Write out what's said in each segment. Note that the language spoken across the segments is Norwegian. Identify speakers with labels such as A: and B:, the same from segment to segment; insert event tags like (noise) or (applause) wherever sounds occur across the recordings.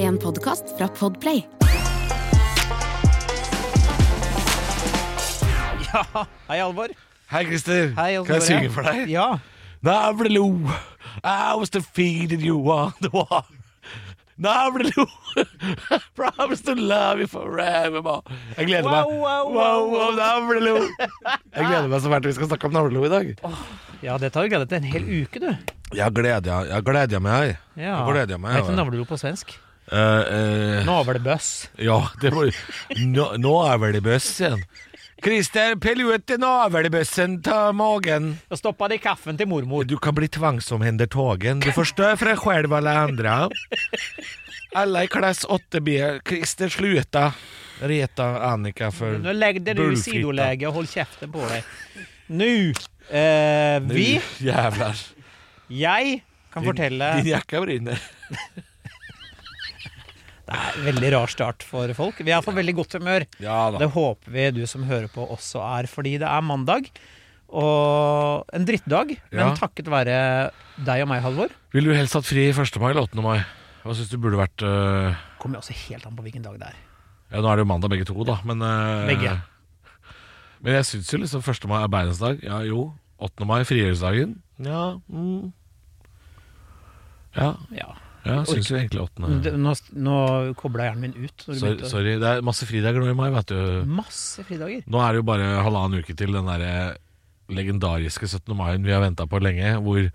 A: en podkast fra Podplay.
B: Ja, hei Alvor.
C: Hei, Christer.
B: Hei, Alvor.
C: kan jeg synge for deg?
B: Ja.
C: Navrelo, I was defeated you on (laughs) the wall. Navrelo, (laughs) promise to love you forevermore. Jeg gleder meg.
B: Wow, wow, wow.
C: wow, wow Navrelo. Jeg gleder meg så fælt til vi skal snakke om Navrelo i dag.
B: ja, dette har du gledet deg til en hel uke, du.
C: Jeg gleder, jeg gleder meg. jeg.
B: Ja.
C: Jeg gleder meg,
B: Hva heter
C: ja.
B: navlelo på svensk?
C: Eh, eh,
B: Navlebøss.
C: ja, det må, nå, nå er vel det bøss igjen. Christer, pell ut navelbøssen av magen.
B: Og stoppa det i kaffen til mormor.
C: Du kan bli tvangsomhendertagen. Du förstör för dig själv och alla andra. Alla i klass 8B. Christer, sluta reta Annika
B: Nå
C: för...
B: legg deg du i
C: Bullfitta.
B: sidoläge og hold kjeften på deg. Nå eh, Vi,
C: Nu jävlar.
B: jeg, kan
C: (laughs)
B: fortelle
C: Din jacka brinner.
B: Det er en veldig rar start for folk. Vi er på veldig godt humør.
C: Ja
B: Det håper vi du som hører på også er, fordi det er mandag. Og en drittdag, men
C: Ja.
B: takket være deg og meg, Halvor,
C: Vill du helst hatt fri 1. mai eller 8. mai? Hva syns du burde vært eh,
B: kommer jo også helt an på hvilken dag det er.
C: Ja, nå er det jo mandag begge to, da, men eh,
B: Begge.
C: Men jeg syns jo liksom 1. mai er bærensdag. Ja jo. 8. mai frigjøringsdagen. Ja. Mm. Ja,
B: Ja.
C: ja, jeg syns jo egentlig 8.
B: Det- Nå, nå kobla hjernen min ut. Når du
C: Sorry,
B: begynte å-
C: sorry, det er masse fridager nå i mai, vet du.
B: Masse fridager.
C: Nå er det jo bare halvannen uke til den derre legendariske 17. mai-en vi har venta på lenge, hvor,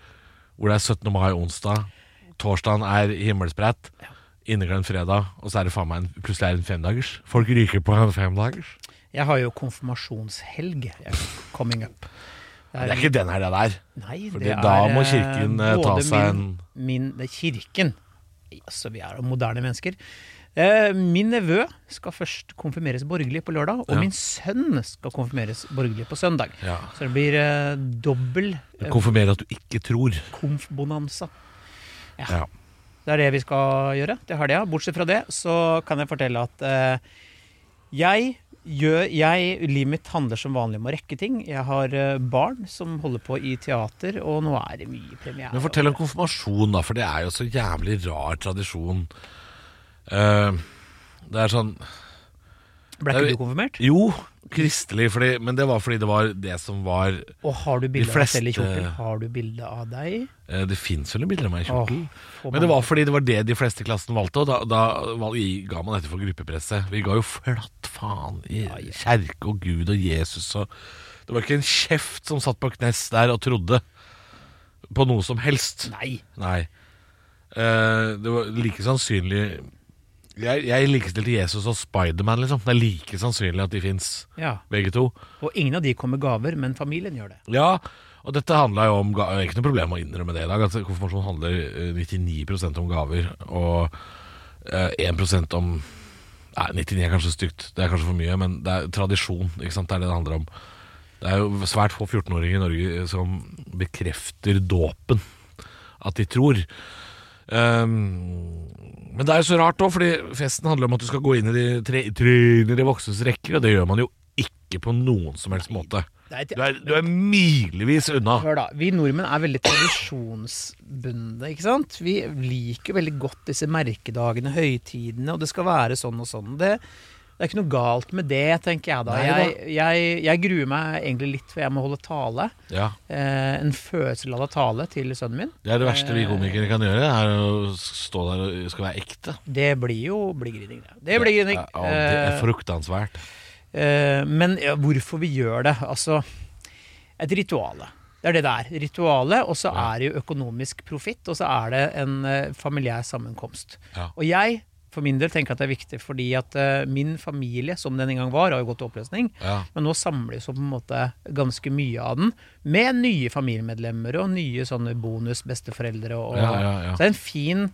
C: hvor det er 17. mai onsdag, torsdagen er himmelsbrett, inneglemt fredag, og så er det faen meg en, plutselig er det en femdagers. Folk ryker på en femdagers.
B: Jeg har jo konfirmasjonshelg jeg, coming up.
C: Det er ikke den her, det der.
B: Nei,
C: Fordi
B: det er
C: da må
B: eh,
C: kirken, eh, ta
B: både
C: seg
B: min, min, Det er kirken. Altså, vi er jo moderne mennesker. Eh, min nevø skal først konfirmeres borgerlig på lørdag, og
C: Ja.
B: min sønn skal konfirmeres borgerlig på søndag.
C: Ja.
B: Så det blir eh, dobbel eh,
C: Konfirmere at du ikke tror.
B: konfbonanza.
C: Ja.
B: Det er det vi skal gjøre til helga. Bortsett fra det så kan jeg fortelle at eh, jeg gjør jeg, Livet mitt handler som vanlig om å rekke ting. Jeg har eh, barn som holder på i teater, og nå er det mye premiere.
C: Men fortell om konfirmasjon, da, for det er jo så jævlig rar tradisjon. Eh, det er sånn
B: Ble ikke du konfirmert?
C: Jo, kristelig, fordi, men det var fordi det var det som var
B: Og har du bilde av deg selv i
C: fleste-
B: kjortel? Har du bilde av deg?
C: eh, Det fins vel noen bilder av meg i
B: Åh,
C: kjortel?
B: får
C: men det
B: man-
C: var fordi det var det de fleste i klassen valgte, og da, da valg- i- ga man etter for gruppepresset. Vi ga jo flatt faen i kjerke og Gud og Jesus og Det var ikke en kjeft som satt på knes der og trodde på noe som helst.
B: Nei.
C: Nei. Eh, det var like sannsynlig Jeg, jeg likestilte Jesus og Spiderman, liksom. Det er like sannsynlig at de fins,
B: Ja.
C: begge to.
B: Og ingen av de kom med gaver, men familien gjør det.
C: Ja, og dette handla jo om ga- Det er ikke noe problem å innrømme det i dag. At konfirmasjon handler eh, 99 om gaver og eh, 1 om Nei, 99 er kanskje stygt. Det er kanskje for mye, men det er tradisjon. ikke sant? Det er det det handler om. Det er jo svært få 14-åringer i Norge som bekrefter dåpen. At de tror. Ehm, men det er jo så rart òg, fordi festen handler om at du skal gå inn i de tre, trynet i de voksnes rekker, og det gjør man jo ikke på noen som helst måte.
B: Nei, det-
C: Du er, du er milevis unna.
B: Hør da, Vi nordmenn er veldig tradisjonsbundne. ikke sant? Vi liker jo veldig godt disse merkedagene, høytidene, og det skal være sånn og sånn. Det, det er ikke noe galt med det, tenker jeg da.
C: Nei da.
B: Jeg, jeg, jeg gruer meg egentlig litt, for jeg må holde tale.
C: Ja,
B: Eh, en fødselada tale til sønnen min.
C: Det er det verste vi komikere kan gjøre, er å stå der og skal være ekte.
B: Det blir jo bligrining, det. Det blir grining.
C: Ja, ja, det er fruktansvært.
B: Eh, men ja, hvorfor vi gjør det? Altså, et rituale. Det er det det er. Ritualet, og så er det jo økonomisk profitt, og så er det en eh, familiær sammenkomst.
C: Ja.
B: Og jeg, for min del, tenker at det er viktig fordi at eh, min familie, som den en gang var, har jo gått til oppløsning.
C: Ja.
B: Men nå samles jo på en måte ganske mye av den, med nye familiemedlemmer og nye sånne bonus-besteforeldre. Og,
C: Ja, ja, ja.
B: Så det er en fin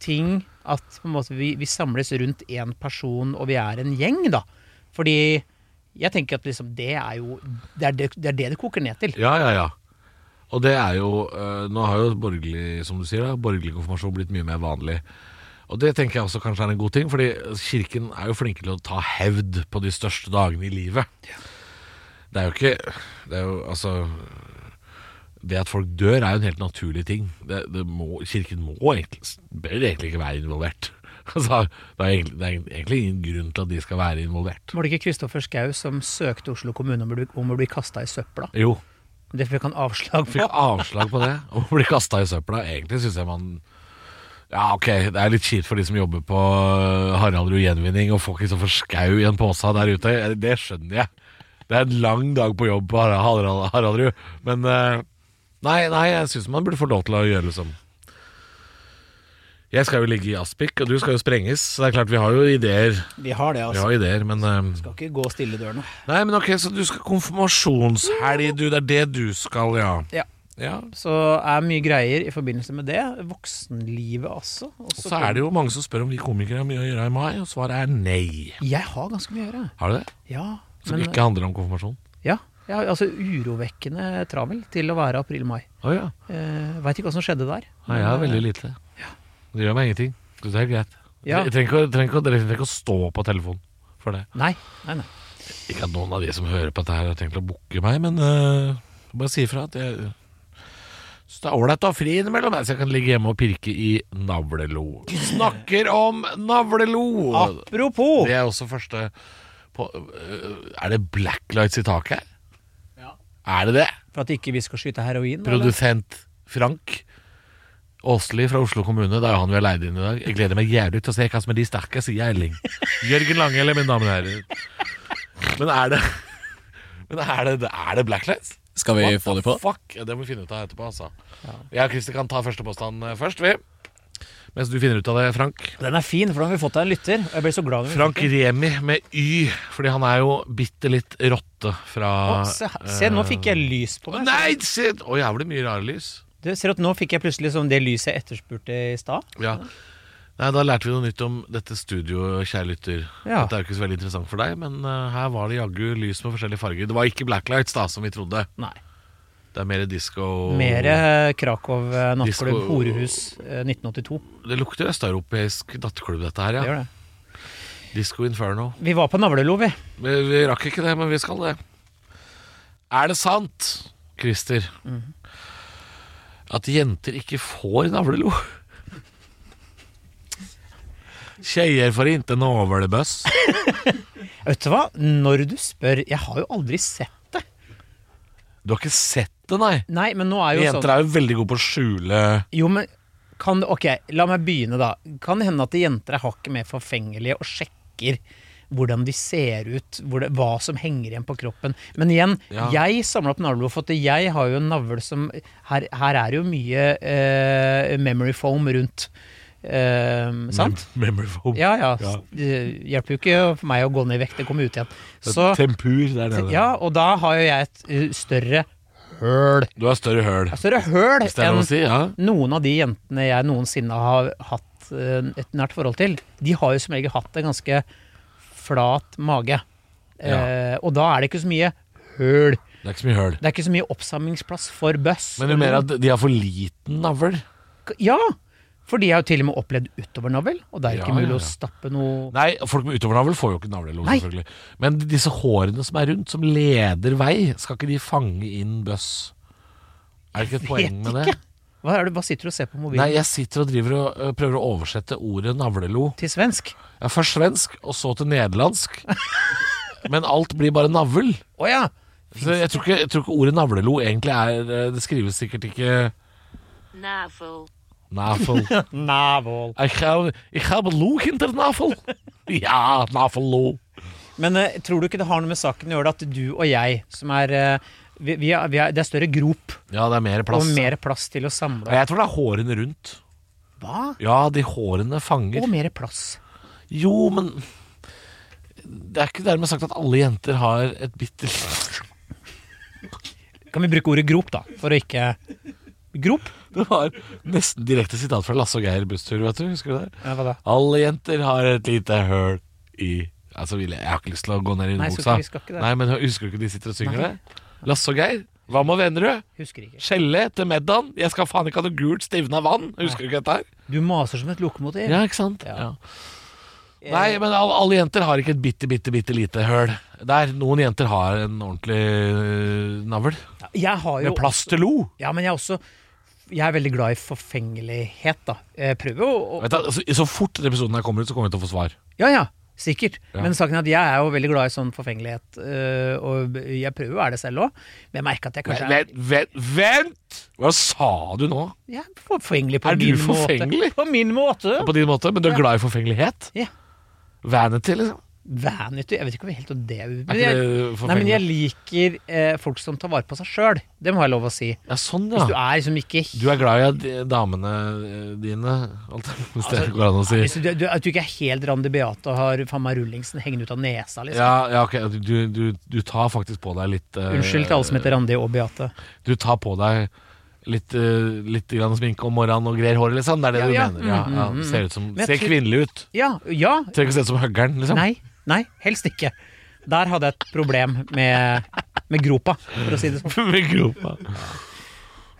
B: ting at på en måte, vi, vi samles rundt én person, og vi er en gjeng, da. Fordi jeg tenker at liksom, det er jo det er det, det er det det koker ned til.
C: Ja, ja, ja. Og det er jo eh, Nå har jo borgerlig, som du sier, da, borgerlig konfirmasjon blitt mye mer vanlig. Og det tenker jeg også kanskje er en god ting, fordi kirken er jo flinke til å ta hevd på de største dagene i livet. Det er jo ikke Det er jo altså Det at folk dør er jo en helt naturlig ting. Det, det må, kirken må egentlig, bør egentlig ikke være involvert. (laughs) altså, det, er egentlig, det er egentlig ingen grunn til at de skal være involvert.
B: Var det ikke Kristoffer Schau som søkte Oslo kommune om å bli, om å bli kasta i søpla?
C: Jo,
B: Det fikk han avslag på.
C: fikk avslag på det, og blir kasta i søpla. Egentlig syns jeg man ja, ok, Det er litt kjipt for de som jobber på Haraldrud Gjenvinning og får Kristoffer Skau i en pose der ute. Det skjønner jeg. Det er en lang dag på jobb på Har- Harald- Haraldrud. Men eh, nei, nei jeg syns man burde få lov til å gjøre liksom Jeg skal jo ligge i Aspik, og du skal jo sprenges. Så det er klart, vi har jo ideer.
B: Vi har det,
C: Vi
B: altså.
C: har ideer, men eh,
B: Skal ikke gå stille dørene.
C: Nei, men ok, så du skal konfirmasjonshelg, du. Det er det du skal, ja.
B: Ja.
C: Ja,
B: Så er mye greier i forbindelse med det. Voksenlivet, altså. Og
C: Så er det jo mange som spør om vi komikere har mye å gjøre i mai, og svaret er nei.
B: Jeg har ganske mye å gjøre.
C: Har du det?
B: Ja.
C: Som
B: men-
C: ikke handler om konfirmasjon?
B: Ja. Jeg har altså urovekkende travel til å være april-mai.
C: Å ja.
B: Eh, Veit ikke hva som skjedde der.
C: Nei, jeg har veldig lite. Det gjør meg ingenting. Så det er greit.
B: Ja.
C: Jeg trenger ikke, å- trenger, ikke, å- dere trenger ikke å stå på telefonen for det.
B: eh, Nei, nei, nei.
C: Ikke at noen av de som hører på dette her har tenkt å booke meg, men øh, bare si ifra at jeg så det er ålreit å ha fri innimellom, så jeg kan ligge hjemme og pirke i navlelo. Snakker om navlelo!
B: Apropos!
C: Det er også første på, øh, Er det blacklights i taket her? Er det det?
B: For at ikke vi skal skyte heroin. eller?
C: Produsent Frank Åsli fra Oslo kommune, det er jo han vi har leid inn i dag. Jeg gleder meg jævlig til å se hva som er de sterke, sier Eiling. Jørgen Lange, eller mine damer og herrer. Men er det (laughs) Men er det, er det blacklights?
A: Skal vi få det på?
C: fuck? Ja, Det må vi finne ut av etterpå, altså. Jeg og Christer kan ta første påstand eh, først, vi. Mens du finner ut av det, Frank.
B: Den er fin, for da har vi fått deg en lytter. Og jeg ble så glad når vi
C: Frank Remi med Y, fordi han er jo bitte litt rotte fra
B: Å, se, her- se, nå fikk jeg lys på
C: Å
B: meg.
C: nei, se! Å jævlig mye rare lys.
B: Du ser at nå fikk jeg plutselig som det lyset jeg etterspurte i stad.
C: Ja. Nei, da lærte vi noe nytt om dette studio, kjære lytter.
B: Ja.
C: Dette er jo ikke så veldig interessant for deg, men eh, her var det jaggu lys med forskjellige farger. Det var ikke blacklights, da, som vi trodde.
B: Nei.
C: Det er mer disco
B: Mer eh, Krakow eh, nattklubb,
C: Disco-
B: horehus, eh, 1982.
C: Det lukter østeuropeisk datterklubb, dette her,
B: Det
C: ja.
B: gjør det.
C: Disco Inferno.
B: Vi var på Navlelo, vi.
C: Vi, vi rakk ikke det, men vi skal det. Er det sant, Christer, at jenter ikke får navlelo? Tjejer får ikke navlebøss.
B: Vet du hva? Når du spør Jeg har jo aldri sett det.
C: Du har ikke sett det, nei?
B: Nei, men nå er jo sånn
C: Jenter er jo veldig gode på å skjule
B: Jo, men kan det, Ok, la meg begynne, da. Kan det hende at jenter er hakket mer forfengelige og sjekker hvordan de ser ut, hvor det, hva som henger igjen på kroppen. Men igjen,
C: Ja.
B: jeg samla opp navlelo, for at jeg har jo en navl som Her, her er jo mye eh, memory foam rundt. Eh, sant?
C: memory foam.
B: Ja ja.
C: Ja.
B: Det hjelper jo ikke for meg å gå ned i vekt, det kommer ut igjen. Så,
C: Tempur der nede.
B: ja, og da har jo jeg et eh, større høl.
C: Du har større høl.
B: Større høl
C: Hvis det er
B: enn
C: lov å si, ja.
B: noen av de jentene jeg noensinne har hatt eh, et nært forhold til, de har jo som regel hatt en ganske flat mage. Eh, og da er det ikke så mye høl.
C: Det er ikke så mye høl.
B: Det er ikke så mye oppsamlingsplass for bøss.
C: Men du mener at de har for liten navl?
B: Ja! For de har jo til og med opplevd utovernavel, og det er jo ikke
C: Ja, ja,
B: mulig
C: ja.
B: å stappe noe
C: Nei, folk med utovernavl får jo ikke navlelo,
B: Nei.
C: selvfølgelig. Men disse hårene som er rundt, som leder vei, skal ikke de fange inn bøss? Er det ikke et poeng med det?
B: Hva, er det, hva sitter du og ser på mobilen?
C: Nei, jeg sitter og driver og øh, prøver å oversette ordet navlelo.
B: Til svensk?
C: Ja, først svensk, og så til nederlandsk. Men alt blir bare navl.
B: Å ja!
C: Så jeg, tror ikke, jeg tror ikke ordet navlelo egentlig er øh, Det skrives sikkert ikke
D: Navel.
C: Nafel.
B: Navål.
C: Jeg har, jeg har lo hinter nafel. Ja, nafel lo.
B: Men eh, tror du ikke det har noe med saken å gjøre at du og jeg, som er eh, vi, vi er, vi er, Det er større grop
C: Ja, det er mer plass.
B: og mer plass til å samle
C: Og Jeg tror det er hårene rundt.
B: Hva?
C: Ja, de hårene fanger.
B: Og mer plass.
C: Jo, men Det er ikke dermed sagt at alle jenter har et bitte lite (laughs)
B: Kan vi bruke ordet grop, da? For å ikke Grop?
C: Det var nesten direkte sitat fra Lasse og Geir busstur, vet du. Husker du det?
B: Ja, hva da?
C: Alle jenter har et lite høl i Altså, Ville, jeg har ikke lyst til å gå ned i
B: Nei,
C: den
B: så
C: buksa.
B: vi skal ikke det.
C: Nei, men husker du ikke de sitter og synger
B: Nei.
C: det? Lasse og Geir, hva med Vennerud?
B: Husker ikke.
C: Skjelle til middagen. Jeg skal faen ikke ha noe gult stivna vann. Husker du ikke dette her?
B: Du maser som et lokomotiv. Eh,
C: Ja, ikke sant?
B: Ja.
C: Ja. Nei, men alle, alle jenter har ikke et bitte, bitte, bitte lite høl. Der noen jenter har en ordentlig øh, navl.
B: Jeg har jo
C: Med plass til lo.
B: Ja, men jeg har også jeg er veldig glad i forfengelighet, da. Jeg prøver jo å
C: Vet du, altså, så fort denne episoden her kommer ut, så kommer vi til å få svar.
B: Ja ja, sikkert.
C: Ja.
B: Men saken er at jeg er jo veldig glad i sånn forfengelighet, øh, og jeg prøver jo å være det selv òg. Men jeg merker at jeg kanskje er
C: Vent, vent, vent! Hva sa du nå?
B: jeg er forfengelig på
C: Er du
B: min
C: forfengelig?
B: måte. På min måte!
C: På din måte, men du er glad i forfengelighet?
B: Ja.
C: Vanity, liksom?
B: Vanity Jeg vet ikke om helt om det er
C: Er ikke det
B: Nei, men jeg
C: forfengelig?
B: liker eh, folk som tar vare på seg sjøl. Det må jeg lov å si.
C: Ja, sånn,
B: Hvis du
C: ja.
B: er liksom ikke
C: Du er glad i at de- damene eh, dine, alt, hvis det
B: Altså,
C: går an å si.
B: hvis du, du, At du ikke er helt Randi Beate og har faen meg rullingsen hengende ut av nesa, liksom.
C: Ja, ja, ok, du, du, du tar faktisk på deg litt eh,
B: Unnskyld til alle som heter Randi og Beate.
C: Du tar på deg litt, eh, litt grann sminke om morgenen og greier håret, liksom? Det er
B: Ja,
C: det du
B: ja.
C: mener? Ja, ja.
B: Mm, mm, mm.
C: Ser, ut som,
B: Men jeg
C: ser
B: tror-
C: kvinnelig ut.
B: Ja, ja.
C: Trenger ikke å se ut som høggeren, liksom. (laughs)
B: Nei. Nei, helst ikke. Der hadde jeg et problem med, med gropa, for å si det sånn.
C: Med gropa. Ja,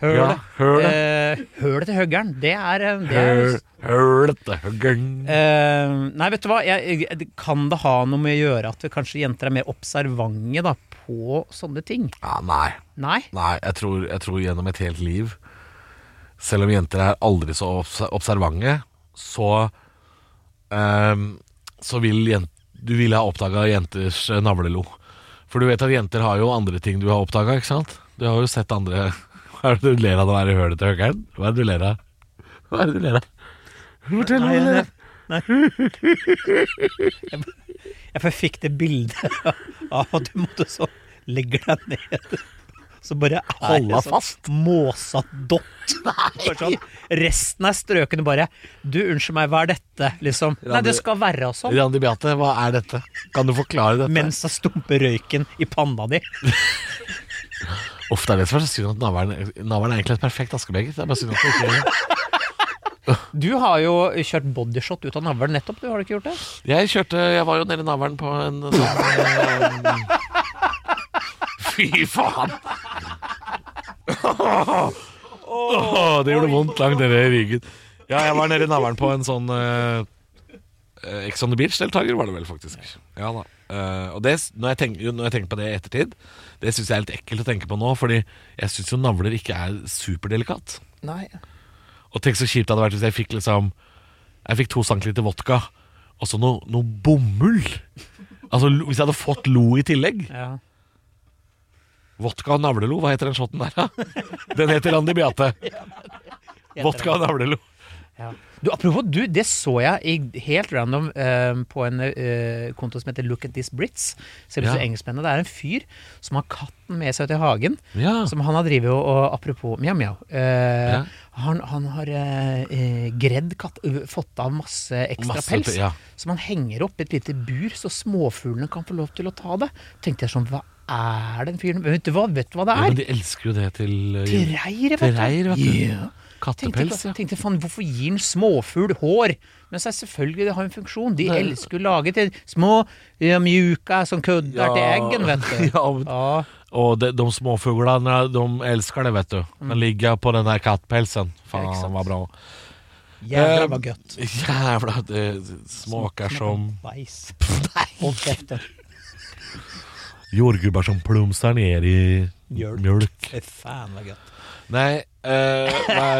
B: Hølet.
C: hølet.
B: Eh, hølet til høggeren, det er, eh, det er
C: Høl- Hølete høggeren.
B: Eh, nei, vet du hva? Jeg, jeg, det- kan det ha noe med å gjøre at kanskje jenter er mer observante da, på sånne ting?
C: Ja, nei.
B: Nei?
C: Nei, jeg tror, jeg tror gjennom et helt liv Selv om jenter er aldri så obs observante, så ehm, Så vil jent, du ville ha oppdaga jenters eh, navlelo. For du vet at jenter har jo andre ting du har oppdaga, ikke sant? Du har jo sett andre (laughs) Hva er det du ler av det der i hølet til høgeren? Hva er det du ler av? Hva er det du ler av? Fortell hva
B: Nei,
C: du ler av.
B: Jeg bare fikk det bildet av at du måtte så legger deg ned. Så bare er
C: Holde
B: det sånn
C: fast.
B: måsadott. (laughs) Bare Sånn, resten er strøkene bare Du, unnskyld meg, hva er dette? Liksom. Nei, det skal være sånn.
C: Randi Beate, hva er dette? Kan du forklare dette?
B: Mens jeg stumper røyken i panna di.
C: Ofte er det som er så synd at navlen navlen er egentlig et perfekt askebeger. Det er bare synd at det ikke
B: Du har jo kjørt bodyshot ut av navlen nettopp, du har du ikke gjort det?
C: Jeg kjørte, jeg var jo nede i navlen på en sånn eh, (laughs) Fy faen! Åh, det gjorde vondt langt nede i ryggen. Ja, jeg var nede i navlen på en sånn eh, eh, Ex on the Beach-deltaker, var det vel faktisk. Ja da. Eh, og det, s- når, jeg tenker, når jeg tenker på det i ettertid, det syns jeg er litt ekkelt å tenke på nå. Fordi jeg syns jo navler ikke er superdelikat.
B: Nei.
C: Og tenk så kjipt det hadde vært hvis jeg fikk liksom Jeg fikk to centiliter vodka og så noe, noe bomull. Altså lo- Hvis jeg hadde fått lo i tillegg
B: Ja.
C: Vodka og navlelo, hva heter den shotten der, da? Den heter Randi Beate. Vodka og navlelo.
B: Ja. Du, apropos du, det så jeg i, helt random eh, på en eh, konto som heter Look at these Brits. Ser ut som
C: Ja.
B: engelskmennene. Det er en fyr som har katten med seg ut i hagen.
C: Ja.
B: Som han har drevet og, og Apropos mjau, mjau. eh,
C: Ah. Ja.
B: han, han har eh, eh, gredd katt, ø, fått av masse ekstra
C: Masse,
B: pels.
C: ja.
B: Som han henger opp i et lite bur, så småfuglene kan få lov til å ta det. Tenkte jeg sånn, hva er den fyren Vet du hva, vet du hva det
C: Ja, men
B: er?
C: de elsker jo det til eh,
B: Til reiret, vet du.
C: Til reir, vet du.
B: Ja. Tenkte,
C: Kattepels,
B: på-
C: ja.
B: tenkte faen, hvorfor gir en småfugl hår? Men så er selvfølgelig det har en funksjon. De
C: Nei.
B: elsker å lage til små ja, mjuka som kødder
C: Ja.
B: til eggen, vet du.
C: Ja, men-
B: (laughs) Ja.
C: Og de, de småfuglene, de elsker det, vet du. Den ligger på den der kattpelsen. Faen,
B: Ja, ikke sant.
C: var bra.
B: Jævla
C: Eh,
B: var godt.
C: Jævla, det smaker som
B: Beis.
C: Nei!
B: Hold kjeften.
C: Jordgubber som plumser ned i
B: Mjølk.
C: mjølk.
B: Fy faen, var godt.
C: Nei, eh, nei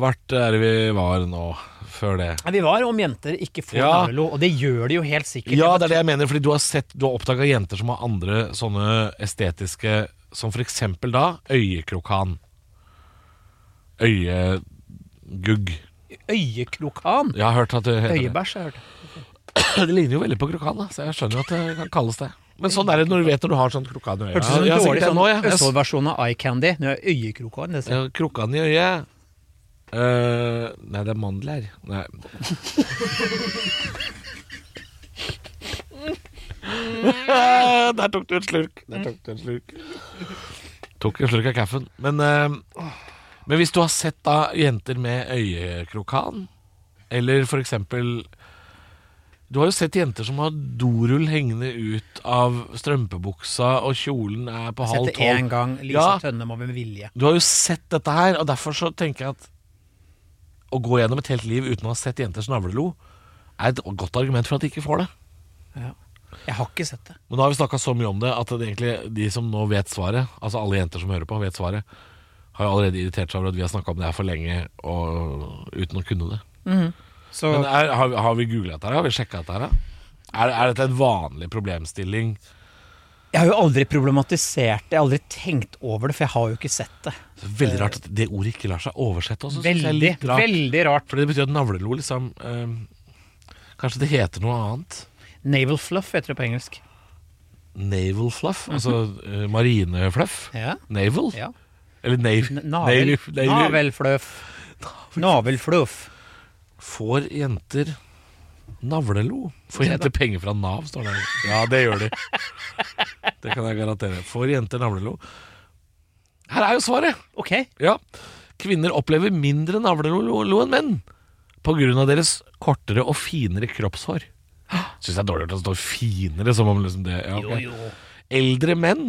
C: Hvert er det vi var nå Før det
B: Men Vi var om jenter ikke får
C: Ja.
B: navlelo, og det gjør de jo helt sikkert.
C: Ja, det er det jeg mener Fordi du har, sett- du har oppdaget jenter som har andre Sånne estetiske Som for eksempel da Øyekrokan Øyegugg
B: Øyekrokan.
C: Jeg har hørt at det heter det
B: Øyebæsj, har jeg hørt.
C: Det ligner jo veldig på krokan da Så jeg skjønner jo at det kan kalles det Men sånn er det når du vet Når du har sånn krokan i øyet
B: Hørtes ut som
C: Jeg
B: en
C: har sikkert
B: dårlig
C: det
B: sånn,
C: nå, ja. Jeg
B: Østfold-versjon av Eye Candy. Nå er øyekrokan. Det ser.
C: Ja, Krukkan i øyet. Eh, nei, det er mandler. Nei. (laughs) Der tok du en slurk. Der tok du en slurk. Tok en slurk av kaffen. Men, eh, men hvis du har sett da jenter med øyekrokan, eller for eksempel Du har jo sett jenter som har dorull hengende ut av strømpebuksa, og kjolen er på halv
B: Sett det
C: tolv.
B: én gang. Lisa
C: Ja.
B: Tønne må med vilje.
C: Du har jo sett dette her, og derfor så tenker jeg at å gå gjennom et helt liv uten å ha sett jenters navlelo, er et godt argument for at de ikke får det.
B: Ja. Jeg har ikke sett det.
C: Men nå har vi snakka så mye om det at det egentlig de som nå vet svaret, altså alle jenter som hører på, vet svaret, har jo allerede irritert seg over at vi har snakka om det her for lenge og, uten å kunne det.
B: Så
C: Men er, har, vi- har vi googla dette? her? Har vi sjekka dette? her? Er, er dette en vanlig problemstilling?
B: jeg har jo aldri problematisert det, jeg har aldri tenkt over det, for jeg har jo ikke sett det.
C: Så veldig rart at det ordet ikke lar seg oversette. Også, synes jeg er
B: Veldig,
C: litt rart.
B: veldig rart.
C: Fordi det betyr at navlelo liksom eh, Kanskje det heter noe annet?
B: Naval fluff heter det på engelsk.
C: Naval fluff? Altså eh, marinefluff?
B: Mhm. Ja.
C: Naval?
B: ja.
C: Eller nav...
B: N- Navel,
C: nav- nav-
B: navelfluff. Navelfluff.
C: Får jenter navlelo? Får
B: Se da.
C: jenter penger fra Nav, står det. Ja, det gjør
B: (laughs)
C: de. Det kan jeg garantere. Får jenter navlelo? Her er jo svaret!
B: Ok,
C: Ja. Kvinner opplever mindre navlelo enn menn pga. deres kortere og finere kroppshår. Syns det er dårlig at det står 'finere'. Som om liksom det, ja, ok.
B: jo jo.
C: Eldre menn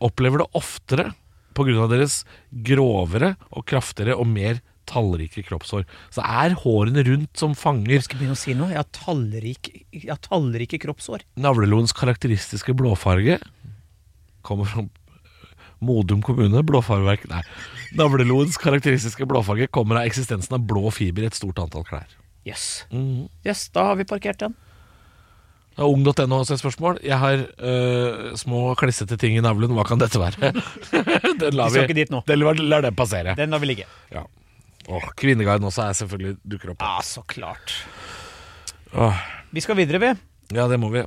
C: opplever det oftere pga. deres grovere og kraftigere og mer tallrike kroppshår. Så er hårene rundt som fanger
B: Skal jeg begynne å si noe? Jeg har, tallrik, jeg har tallrike kroppshår.
C: Navleloens karakteristiske blåfarge kommer fra Modum kommune, blåfargeverk Nei. Navleloens karakteristiske blåfarge kommer av eksistensen av blå fiber i et stort antall klær. Mhm.
B: Yes. yes, da har vi parkert den.
C: Det er Ung.no også et spørsmål. Jeg har øh, små klissete ting i navlen, hva kan dette være? (laughs) den lar
B: Vi skal ikke dit nå.
C: Den lar, lar den passere.
B: Den lar vi ligge.
C: Ja. Og Kvinneguiden også er selvfølgelig dukker opp.
B: Ja, så klart.
C: Åh.
B: Vi skal videre, vi.
C: Ja, det må vi.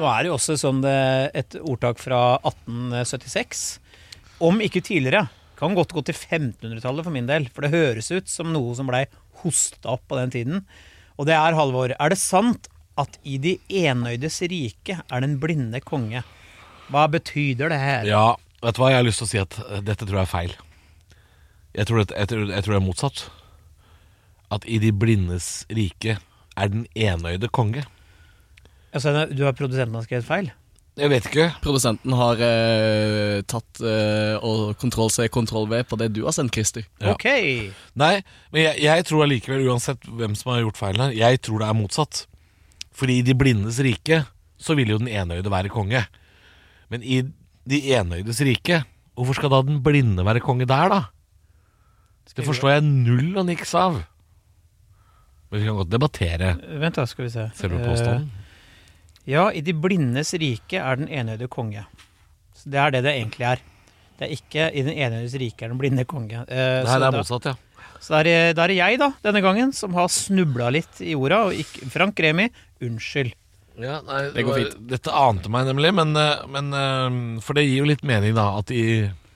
B: Nå er det jo også sånn det, et ordtak fra 1876. Om ikke tidligere. Kan godt gå til 1500-tallet for min del, for det høres ut som noe som blei hosta opp på den tiden. Og det er, Halvor, er det sant at i de enøydes rike er den blinde konge? Hva betyr det her?
C: Ja, vet du hva? Jeg har lyst til å si at eh, dette tror jeg er feil. Jeg tror, det, jeg, tror, jeg tror det er motsatt. At i de blindes rike er den enøyde konge.
B: Altså, du har produsenten har skrevet feil?
C: Jeg vet ikke.
E: Produsenten har eh, tatt eh, og kontroll-C, kontroll-V på det du har sendt, Christer.
C: Ja.
B: Ok.
C: Nei, men jeg, jeg tror allikevel, uansett hvem som har gjort feilen her, jeg tror det er motsatt. Fordi i de blindes rike så vil jo den enøyde være konge. Men i de enøydes rike, hvorfor skal da den blinde være konge der, da? Det forstår jeg null og niks av. Men vi kan godt debattere
B: Vent, da, skal vi se.
C: selve påstanden.
B: Ja, i de blindes rike er den enøyde konge. Så det er det det egentlig er. Det er ikke i den enøydes rike er den blinde konge. Eh,
C: Nei,
B: så
C: det er
B: da-
C: motsatt, ja.
B: Så det er, det er jeg, da, denne gangen, som har snubla litt i orda. Og ikke, Frank Remi, unnskyld.
C: det går fint. Dette ante meg nemlig, men, eh, men eh, For det gir jo litt mening, da, at de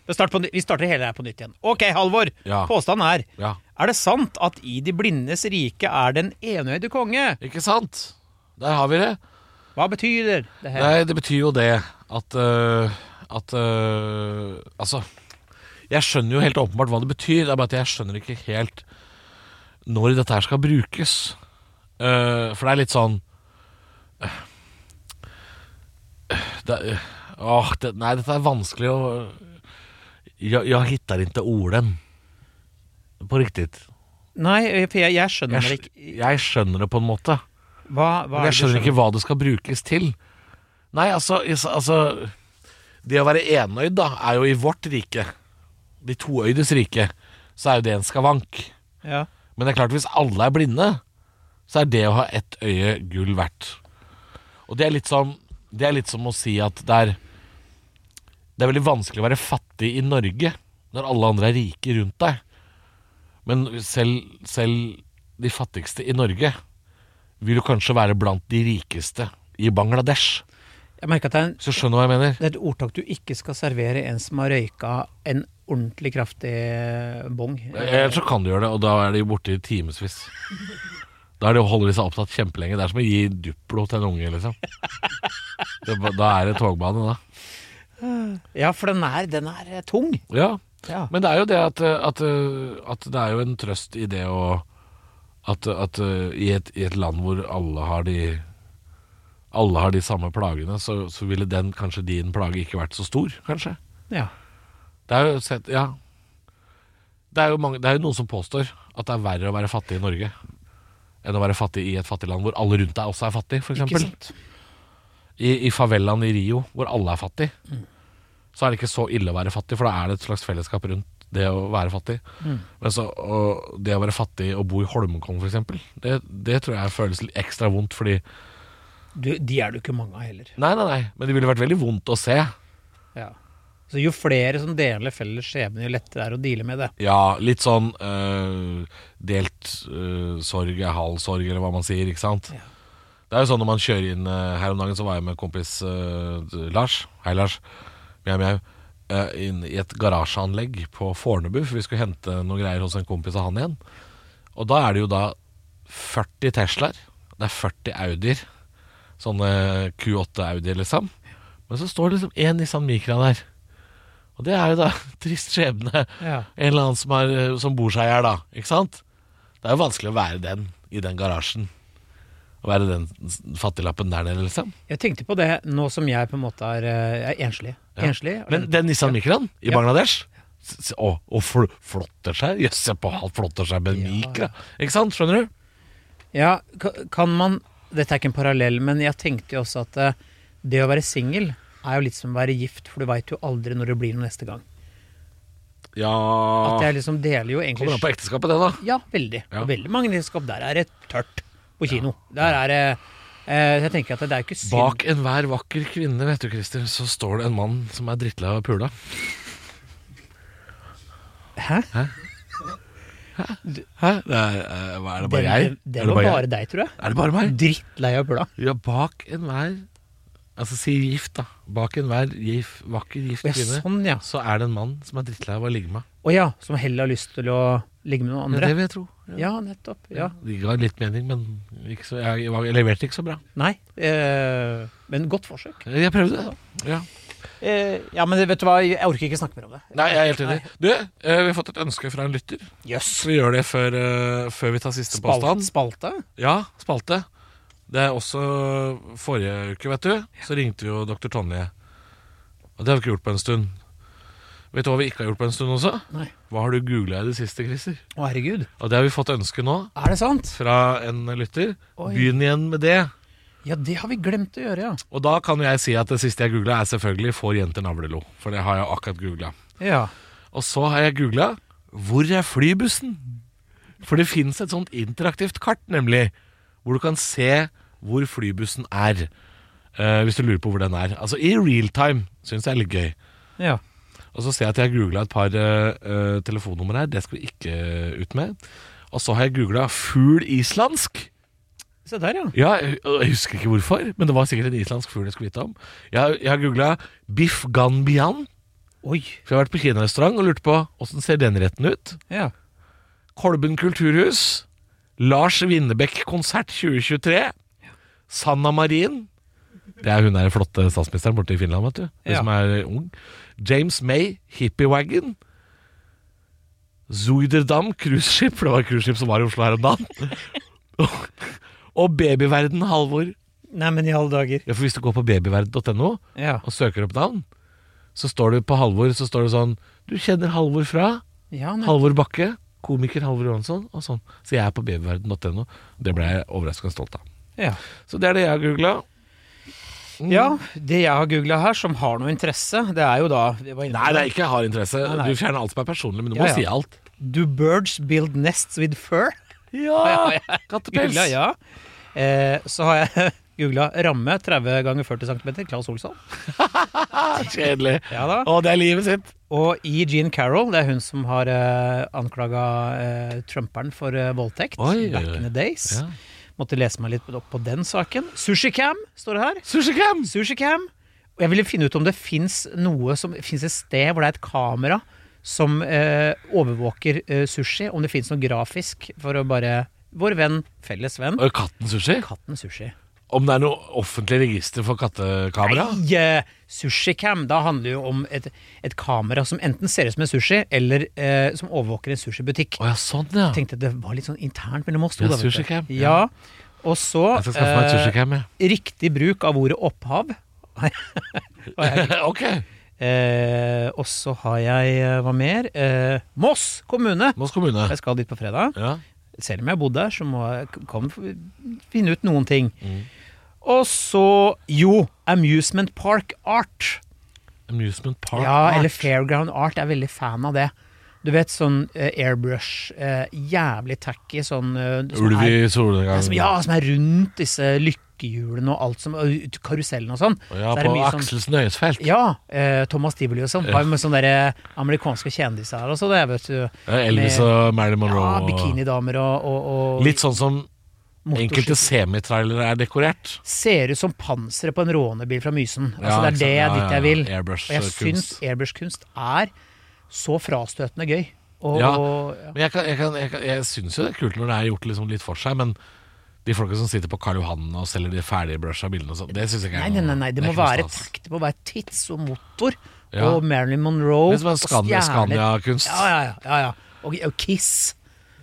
B: Vi starter, på, ny- vi starter hele her på nytt igjen. Ok, Halvor.
C: Ja.
B: Påstanden er
C: Ja,
B: Er det sant at i de blindes rike er den enøyde konge?
C: ikke sant? Der har vi det.
B: Hva betyr det her?
C: Nei, det betyr jo det at øh, At øh, Altså Jeg skjønner jo helt åpenbart hva det betyr Det er bare at jeg skjønner ikke helt Når dette her skal brukes Eh, For det er litt sånn eh, det, er- åh, det, Nei, dette er vanskelig å Jeg, jeg hittar ikke orden På riktig
B: Nei, for jeg, jeg skjønner
C: jeg,
B: det
C: skj-
B: ikke.
C: jeg skjønner det på en måte
B: Hva, hva
C: men jeg skjønner ikke hva det skal brukes til. Nei, altså, is- altså Det å være enøyd, da, er jo i vårt rike, de toøydes rike, så er jo det en skavank.
B: Ja.
C: Men det er klart, hvis alle er blinde, så er det å ha ett øye gull verdt. Og det er litt som, det er litt som å si at det er Det er veldig vanskelig å være fattig i Norge når alle andre er rike rundt deg. Men selv, selv de fattigste i Norge vil jo kanskje være blant de rikeste i Bangladesh.
B: Jeg merker at det er en
C: Hvis du skjønner hva jeg mener?
B: Det er et ordtak du ikke skal servere en som har røyka en ordentlig kraftig eh, bong.
C: Ellers så kan du gjøre det, og da er de jo borte i timevis. Da er de holder de seg opptatt kjempelenge. Det er som å gi Duplo til en unge, liksom. Det, er ba- da er det togbane, da.
B: Ja, for den er, den er eh, tung.
C: Ja,
B: Ja.
C: men det er jo det at, eh, at, eh, at det er jo en trøst i det å At, at eh, i, et, i et land hvor alle har de alle har de samme plagene, så, så ville den, kanskje din plage ikke vært så stor, kanskje.
B: Ja.
C: Det er jo, sett, ja. det er jo, mange, det er jo noen som påstår at det er verre å være fattig i Norge enn å være fattig i et fattig land hvor alle rundt deg også er fattig,
B: Ikke
C: f.eks.
B: sant? Mm.
C: I, I favelaen i Rio, hvor alle er fattig, så er det ikke så ille å være fattig, for da er det et slags fellesskap rundt det å være fattig.
B: Mm.
C: Men så og det å være fattig og bo i Holmenkollen, f.eks., det, det tror jeg føles litt ekstra vondt, fordi
B: Du, de er det jo ikke mange av heller.
C: Nei, nei, nei, men det ville vært veldig vondt å se.
B: Ja. Så jo flere som deler felles skjebne, jo lettere er det å deale med det.
C: Ja, litt sånn øh, delt øh, sorg er halv sorg, eller hva man sier, ikke sant?
B: Ja.
C: Det er jo sånn når man kjører inn øh, her om dagen, så var jeg med kompis øh, Lars. Hei, Lars. Mjau, mjau. øh, inn i et garasjeanlegg på Fornebu, for vi skulle hente noen greier hos en kompis av han igjen. Og da er det jo da 40 Teslaer, det er 40 Audier, sånne Q8 Audier, liksom. Men så står det liksom én Nissan Micra der. Og det er jo da (laughs) trist skjebne.
B: Ja.
C: En eller annen som, er, eh, som bor seg her da Ikke sant? Det er jo vanskelig å være den I den garasjen Å være den s- fattiglappen der nede liksom
B: Jeg tenkte på det nå som jeg på en måte er, eh, er enslig.
C: Ja.
B: Enslig.
C: Men den Nissan Micraen i
B: Ja.
C: Bangladesh s- s- Å, og fl flotter seg Jøss, se på han flotter seg med
B: Ja,
C: Micra Ikke sant, skjønner du?
B: Ja, ka- kan man Dette er ikke en parallell, men jeg tenkte jo også at eh, det å være singel er jo litt som å være gift, for du veit jo aldri når det blir noe neste gang. At
C: Ja
B: jeg liksom deler jo egentlig
C: Ah. Kommer an på ekteskapet det da
B: Ja, veldig.
C: Ja.
B: Og veldig mange ekteskap. Der er det tørt på kino. Der er det eh, Jeg tenker at det er jo ikke synd
C: Bak enhver vakker kvinne, vet du Christer Så står det en mann som er drittlei av pula
B: Hæ?
C: Hæ? Det er, eh, hva, er det bare jeg?
B: Den, den
C: er det
B: var
C: bare,
B: bare
C: jeg?
B: deg, tror jeg.
C: Er det bare meg?
B: Drittlei av pula.
C: Ja, bak enhver Altså si gift, da. Bak enhver gif, vakker, gift
B: Å, ja,
C: kvinne,
B: Sånn, ja.
C: så er det en mann som er drittlei av å ligge med.
B: Å ja, som heller har lyst til å ligge med noen
C: Ja, det
B: andre.
C: vil jeg tro. Ja.
B: Ja, nettopp. Ja.
C: Det ga litt mening, men ikke så, jeg, var- jeg leverte ikke så bra.
B: Nei. Eh, men godt forsøk.
C: Jeg prøvde. Ja.
B: Eh, ja, men vet du hva, jeg orker ikke snakke mer om det.
C: Nei, jeg er helt enig. Du, eh, vi har fått et ønske fra en lytter.
B: Jøss.
C: Så vi gjør det før, eh, før vi tar siste
B: Spalt,
C: påstand.
B: spalte?
C: Ja, spalte. Det er også forrige uke, vet du. Så ringte vi jo dr. Tonje. Og det har vi ikke gjort på en stund. Vet du hva vi ikke har gjort på en stund også?
B: Nei.
C: Hva har du googla i det siste, Christer?
B: Å, herregud.
C: Og det har vi fått ønske nå
B: Er det sant?
C: fra en lytter.
B: Oi.
C: Begynn igjen med det.
B: Ja, det har vi glemt å gjøre, ja.
C: Og da kan jo jeg si at det siste jeg googla, er selvfølgelig 'Får jenter navlelo'. For det har jeg akkurat googla.
B: Ja.
C: Og så har jeg googla 'Hvor er flybussen?' For det fins et sånt interaktivt kart, nemlig. Hvor du kan se hvor flybussen er. eh, hvis du lurer på hvor den er. Altså i real time. Syns jeg er litt gøy.
B: ja.
C: Og så ser jeg at jeg har googla et par eh, eh, telefonnummer her. Det skal vi ikke ut med. Og så har jeg googla 'fugl islandsk'.
B: Se der, ja.
C: Ja, jeg, jeg husker ikke hvorfor, men det var sikkert en islandsk fugl jeg skulle vite om. Jeg, jeg har googla biff ganbian,
B: Oi.
C: for jeg har vært på kinarestaurant og lurt på åssen ser den retten ut.
B: Ja.
C: Kolben kulturhus, Lars Winnebekk konsert 2023, Sanna Marin Det er hun der flotte statsministeren borte i Finland, vet du. Hun
B: Ja.
C: som er ung. James May, Hippiewagon. Zuiderdam cruiseskip, for det var et cruiseskip som var i Oslo her om dagen. (laughs) og Babyverden, Halvor.
B: Nei, men i alle dager.
C: Ja, for hvis du går på babyverd.no
B: Ja.
C: og søker opp navn, så står det på Halvor så står det sånn Du kjenner Halvor fra?
B: ja nei.
C: Halvor Bakke. Komiker Halvor Johansson. Og sånn. Så jeg er på babyverden.no. Det ble jeg overraskende stolt av.
B: Ja.
C: Så det er det jeg har googla.
B: ja. Det jeg har googla her, som har noe interesse, det er jo da vi var inne på
C: Nei, det er ikke jeg har interesse.
B: Nei, nei.
C: Du fjerner alt som er personlig, men du
B: Ja,
C: må
B: ja.
C: si alt.
B: Do birds build nests with (laughs) fur?
C: (laughs) Ja! Kattepels.
B: Googla, ja. Eh, så har jeg (laughs) googla ramme 30 ganger 40 cm, Claes Olsson.
C: Kjedelig.
B: Ja da.
C: Å, det er livet sitt.
B: Og i Jean Carroll, det er hun som har eh, anklaga eh, trumperen for eh, voldtekt.
C: Oi, oi,
B: back
C: oi.
B: in the days.
C: Ja.
B: Måtte lese meg litt opp på den saken. Sushicam står det her.
C: Sushicam!
B: Sushicam. Og jeg ville finne ut om det fins noe som Fins et sted hvor det er et kamera som eh, overvåker eh, sushi. Om det fins noe grafisk for å bare Vår venn, felles venn.
C: Og katten Sushi.
B: Katten Sushi.
C: Å, Om det er noe offentlig register for kattekamera?
B: Nei, eh, sushicam, da handler jo om et, et kamera som enten ser ut som en sushi, eller eh, som overvåker en sushibutikk.
C: Å ja, sånn
B: Jeg
C: ja. Jeg
B: tenkte at det var litt sånn internt mellom oss to.
C: Ja,
B: da, vet du.
C: sushicam,
B: Ja.
C: ja.
B: Og så
C: skal skaffe meg et
B: eh,
C: sushicam, (laughs) jeg.
B: riktig bruk av ordet opphav.
C: ok.
B: Eh, og så har jeg eh, hva mer? Eh, Moss kommune!
C: Moss kommune.
B: Jeg skal dit på fredag.
C: Ja.
B: selv om jeg har bodd der, så må jeg kan jeg finne ut noen ting.
C: Mm.
B: Og så Jo, Amusement Park Art.
C: Amusement Park.
B: ja,
C: Art.
B: Eller Fairground Art. Jeg er veldig fan av det. Du vet sånn eh, airbrush, eh, jævlig tacky sånn eh, som
C: Ulv
B: er-
C: i solnedgang.
B: som, Ja, som er rundt disse lykkehjulene og alt som og ut- Karusellen og sånn.
C: Ja,
B: Så er det
C: på
B: mye sånn-
C: Aksels Nøyesfelt.
B: Ja. Eh, Thomas Tivoli og sånn. Var jo med sånne der, eh, amerikanske kjendiser her og så det, vet du.
C: Ja, Elvis
B: Med-
C: og Marilyn Monroe.
B: Ja,
C: og-
B: Bikinidamer og, og, og
C: Litt sånn som
B: motorsykkel.
C: enkelte semitrailere er dekorert.
B: ser ut som panseret på en rånebil fra Mysen. Altså,
C: Ja,
B: det
C: ikke
B: er
C: sant?
B: det
C: Ja,
B: dit
C: ja,
B: jeg vil.
C: ja. Airbrush,
B: og jeg
C: eh,
B: syns
C: kunst.
B: airbrush-kunst er så frastøtende gøy. Og,
C: Ja.
B: og, ja.
C: Men jeg, kan, jeg, kan, jeg, kan, jeg syns jo det er kult når det er gjort liksom litt for seg, men de folka som sitter på Karl Johan og selger de ferdige brusha bilene og sånn, det syns jeg ikke
B: Nei,
C: er
B: nei, nei, nei, det må
C: er ikke noe
B: være
C: stas.
B: takt, det må være tits og motor
C: Ja.
B: og Marilyn Monroe.
C: Det er som en
B: og
C: Scania-
B: stjerner.
C: Scania-kunst.
B: Ja, ja, ja, ja, ja. Og, og Kiss.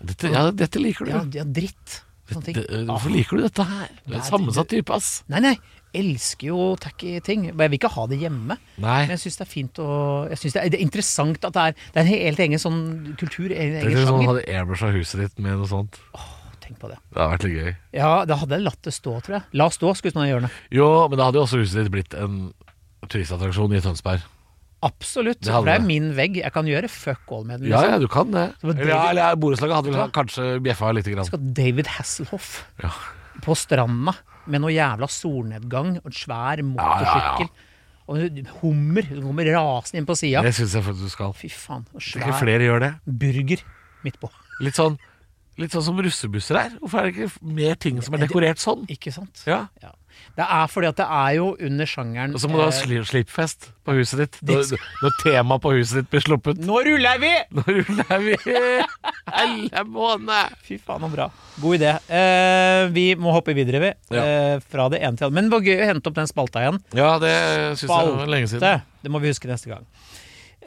C: Dette, ja, dette liker du.
B: Ja, ja dritt. Sånne ting. Ah.
C: Dette, eh, hvorfor liker du dette her? Du er en
B: Nei,
C: sammensatt type, ass.
B: Nei, nei. Elsker jo tacky ting. Men jeg vil ikke ha det hjemme.
C: Nei.
B: Men jeg syns det er fint å jeg synes det, er, det er interessant at det er Det er en helt egen sånn kultur, en
C: Tenk
B: egen
C: hvis noen
B: sjanger.
C: hadde airbrush av huset ditt med noe sånt.
B: Tenk på det.
C: Det sånn hadde vært litt gøy.
B: Ja, da hadde jeg latt det stå, tror jeg. La stå, skulle man gjøre det.
C: Jo, men da hadde jo også huset ditt blitt en turistattraksjon i Tønsberg.
B: Absolutt.
C: Det
B: for
C: hadde
B: det er
C: det.
B: min vegg. Jeg kan gjøre fuck all med den.
C: Ja,
B: liksom.
C: ja, du kan det.
B: var det
C: Eller, ja,
B: vi-
C: eller borettslaget hadde vel ha- kanskje bjeffa lite grann.
B: Skal David Hasselhoff
C: Ja.
B: på stranda med noe jævla solnedgang og en svær
C: ja, ja.
B: motorsykkel og en hummer som kommer rasende inn på sida.
C: Det syns jeg faktisk du skal.
B: Fy faen. Og
C: Tror ikke
B: svær
C: flere gjør det.
B: burger midt på.
C: Litt sånn, litt sånn som russebusser er. Hvorfor er det ikke mer ting som er
B: Det-
C: dekorert sånn?
B: Ikke sant?
C: Ja.
B: Ja. Det er fordi at det er jo under sjangeren
C: Og så må du ha
B: eh,
C: sli- slippfest på huset ditt
B: Det
C: når,
B: skal-
C: når temaet på huset ditt blir sluppet.
B: Nå ruller vi!
C: Nå ruller vi! Helle måned!
B: Fy faen, så bra. God idé. Eh, vi må hoppe videre, vi.
C: Ja.
B: Eh, fra det ene til det andre. Men det var gøy å hente opp den spalta igjen.
C: Ja, det syns jeg var lenge
B: Det,
C: siden.
B: det må vi huske neste gang.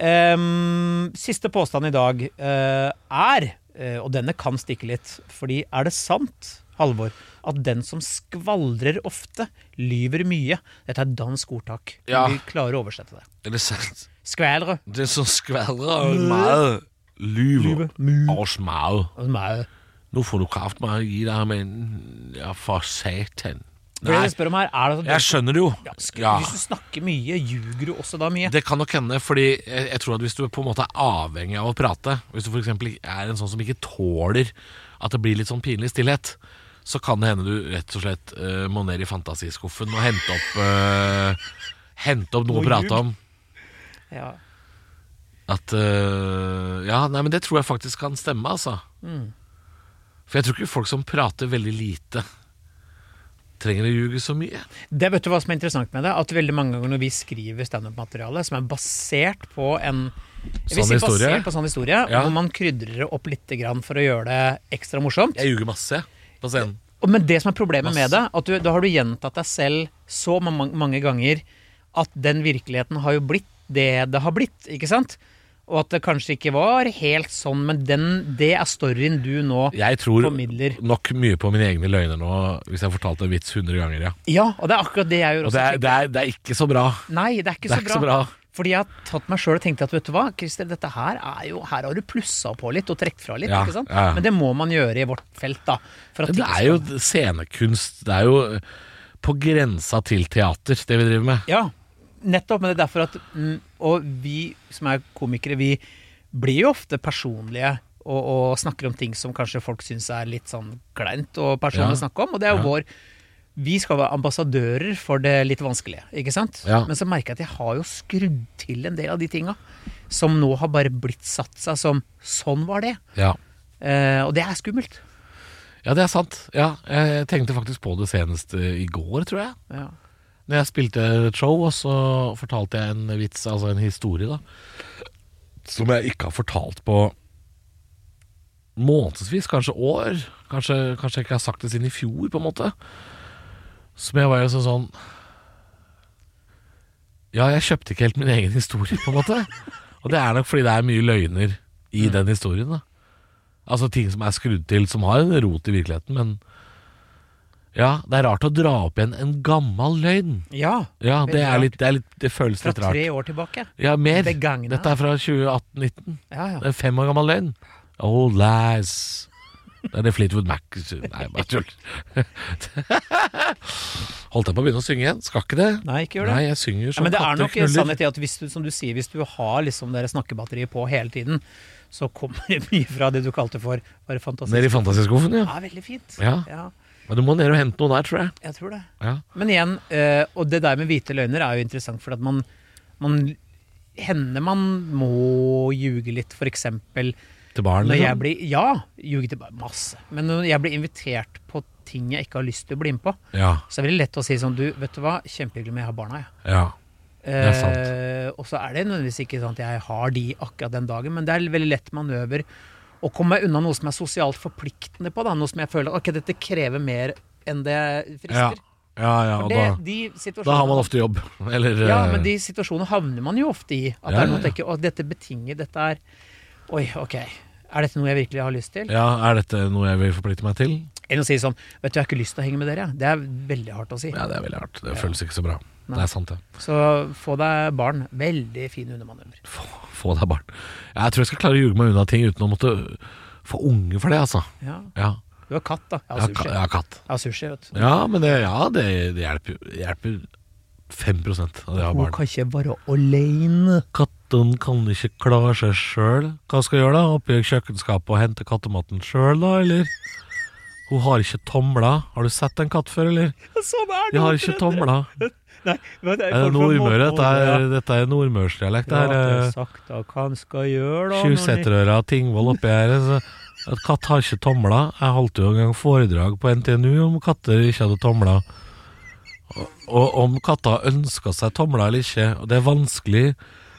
B: Ehm, siste påstand i dag eh, er, eh, og denne kan stikke litt, fordi er det sant, Halvor, at den som skvaldrer ofte, lyver mye? Dette er dansk ordtak.
C: Ja.
B: Vi klarer å oversette det.
C: Er det sant?
B: Skvælre.
C: Det som skvaldrer av meget lyver og smager.
B: Og som er-
C: Nå får du kraft meg å gi deg, men ja, for satan.
B: For det
C: Nei,
B: jeg spør om her, er det sånn
C: jeg skjønner det jo.
B: sk-
C: Ja.
B: Hvis du snakker mye, ljuger du også da mye?
C: Det kan nok hende, fordi jeg, jeg tror at hvis du på en måte er avhengig av å prate, hvis du f.eks. er en sånn som ikke tåler at det blir litt sånn pinlig stillhet, så kan det hende du rett og slett eh, må ned i fantasiskuffen og hente opp eh, Hente opp noe å
B: Noe
C: prate
B: ljug.
C: om.
B: Ja.
C: At eh, Ja, nei, men det tror jeg faktisk kan stemme, altså. For jeg tror ikke folk som prater veldig lite, trenger å ljuge så mye.
B: Det vet du hva som er interessant med det? At veldig mange ganger når vi skriver standup-materiale som er basert på en jeg vil
C: Sann
B: si
C: historie.
B: Basert på sann historie
C: Ja.
B: Og man krydrer det opp litt grann for å gjøre det ekstra morsomt.
C: Jeg ljuger masse på scenen.
B: Og- Men det som er problemet med det, at du, da har du gjentatt deg selv så ma- ma- mange ganger at den virkeligheten har jo blitt det det har blitt, ikke sant? Og at det kanskje ikke var helt sånn, men den, det er storyen du nå
C: Jeg tror
B: formidler.
C: nok mye på mine egne løgner nå hvis jeg fortalte en vits 100 ganger, ja.
B: Ja, og det er akkurat det jeg gjør
C: Og
B: også.
C: det er, det er, det er ikke så bra.
B: Nei, det er ikke,
C: Det er
B: så, bra.
C: ikke så bra.
B: Fordi jeg har tatt meg sjøl og tenkt at vet du hva, Christer, dette her er jo Her har du plussa på litt og trukket fra litt,
C: Ja,
B: ikke sant?
C: ja.
B: Men det må man gjøre i vårt felt, da. For at
C: Det
B: ting
C: er jo scenekunst. Det er jo eh, på grensa til teater, det vi driver med.
B: Ja, nettopp. Men det er derfor at mm, Og vi som er komikere, vi blir jo ofte personlige. Og, og snakker om ting som kanskje folk syns er litt sånn kleint og personlig å
C: Ja.
B: snakke om. Og det er jo
C: Ja.
B: vår Vi skal være ambassadører for det litt vanskelige, ikke sant?
C: Ja.
B: Men så merker jeg at jeg har jo skrudd til en del av de tinga som nå har bare blitt satt seg som Sånn var det.
C: Ja,
B: Eh, og det er skummelt.
C: ja det er sant. Ja, jeg tenkte faktisk på det senest eh, i går, tror jeg.
B: Ja.
C: Når jeg spilte et show, og så fortalte jeg en vits, altså en historie, da. Som jeg ikke har fortalt på månedsvis, kanskje år. Kanskje, kanskje jeg ikke har sagt det siden i fjor, på en måte. Som jeg var jo sånn sånn Ja, jeg kjøpte ikke helt min egen historie, på en måte. Og det er nok fordi det er mye løgner i den historien. da Altså ting som er skrudd til, som har en rot i virkeligheten, men Ja, det er rart å dra opp igjen en gammel løgn.
B: Ja,
C: Ja, det
B: Veldig
C: er
B: rart.
C: litt Det, er litt, det føles
B: fra
C: litt rart.
B: tre år tilbake.
C: Ja, mer.
B: Begagna.
C: Dette er fra 2018-19.
B: Ja, ja.
C: Det er fem år gammel løgn. Oh, lies. Det er det Fleetwood Mac Nei, bare tull. (laughs) Holdt jeg på å begynne å synge igjen? Skal ikke det.
B: Nei, ikke gjør det.
C: Nei, jeg synger
B: Ja,
C: som
B: men det er
C: katter
B: nok en
C: knuller.
B: sannhet i at hvis du, som du sier, hvis du har liksom dere snakkebatteriet på hele tiden, så kommer det mye fra det du kalte for bare fantastisk.
C: Nede i fantasiskuffen, ja.
B: Ja, veldig fint.
C: Ja. Men du må ned og hente noen der, tror jeg.
B: jeg tror det.
C: Ja.
B: Men igjen, eh, og det der med hvite løgner er jo interessant, for at man, man hender man må ljuge litt, for eksempel
C: Til barn.
B: når
C: liksom.
B: jeg blir Ja, ljuge til bare masse. Men når jeg blir invitert på ting jeg ikke har lyst til å bli med på,
C: Ja,
B: så er det veldig lett å si sånn Du, vet du hva, kjempehyggelig med jeg har barna, jeg.
C: ja. er sant.
B: Eh, og så er det nødvendigvis ikke sånn at jeg har de akkurat den dagen, men det er veldig lett manøver å komme meg unna noe som er sosialt forpliktende på, da. Noe som jeg føler at ok, dette krever mer enn det
C: Ja,
B: frister.
C: ja, ja
B: For
C: og
B: det,
C: da,
B: de
C: da har man
B: situasjonene
C: ofte jobb. Eller
B: Ja,
C: eh,
B: men de situasjonene havner man jo ofte i. At
C: Ja,
B: det er noe å
C: ja,
B: tenke, å, dette betinger, dette er Oi, ok. Er dette noe jeg virkelig har lyst til?
C: eh, ja, Er dette noe jeg vil forplikte meg til?
B: Eller å si sånn Vet du, jeg har ikke lyst til å henge med dere. jeg». Det er veldig hardt å si.
C: Ja, det er veldig hardt. Det føles ikke så bra.
B: Nei.
C: Det er sant, det.
B: Så få deg barn. Veldig fin undermanøver.
C: Få, få deg barn. Jeg tror jeg skal klare å ljuge meg unna ting uten å måtte få unge for det, altså.
B: Ja.
C: Ja,
B: Du har katt, da. Jeg
C: jeg
B: har sushi.
C: har, ka- jeg har katt.
B: Jeg har sushi, vet du.
C: Ja, men det, ja, det, det hjelper, det hjelper 5 av det å ha
B: Hun
C: barn.
B: kan ikke være alene.
C: Katten kan ikke klare seg sjøl. Hva skal jeg gjøre, da? Oppi kjøkkenskapet og hente kattematen sjøl, da, eller? Hun har ikke tomler. Har du sett en katt før, eller?
B: (laughs) Sånn er
C: De har ikke tomler.
B: Nei, men det
C: Er det Nordmøre? Dette er, dette er nordmørsdialekt.
B: Det
C: Det er, eh,
B: er sakte hva han skal gjøre, da. når han-
C: Tjuvseterøra Tingvoll oppi her. Så at katt har ikke tomler. Jeg holdt jo en gang foredrag på NTNU om katter ikke hadde tomler. Og, og om katter ønska seg tomler eller ikke. Og det er vanskelig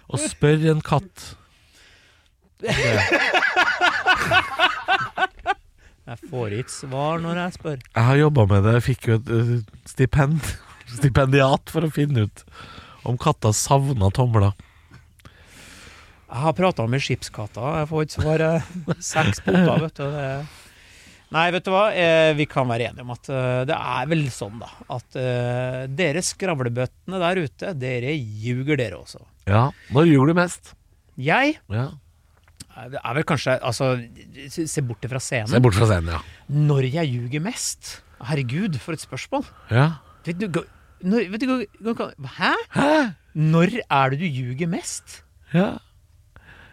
C: å spørre en katt.
B: Jeg får ikke svar når jeg spør.
C: Jeg har jobba med det, jeg fikk jo et eh, stipend, (laughs) stipendiat for å finne ut om katter savna tomler.
B: Jeg har prata med skipskatta, jeg får ikke svar.
C: (laughs)
B: eh, Seks potter, vet du. Det. Nei, vet du hva, eh, vi kan være enige om at eh, det er vel sånn, da, at eh, dere skravlebøttene der ute, dere ljuger dere også.
C: Ja, Når ljuger du mest?
B: Jeg
C: Ja.
B: eh, det er vel kanskje Altså, se bort fra
C: Se
B: scenen.
C: bort fra scenen, ja.
B: Når jeg ljuger mest? Herregud, for et spørsmål.
C: ja.
B: Vet du, gå- når, vet du, gå- gå- gå- hæ?
C: Hæ?
B: Når er det du ljuger mest?
C: Ja.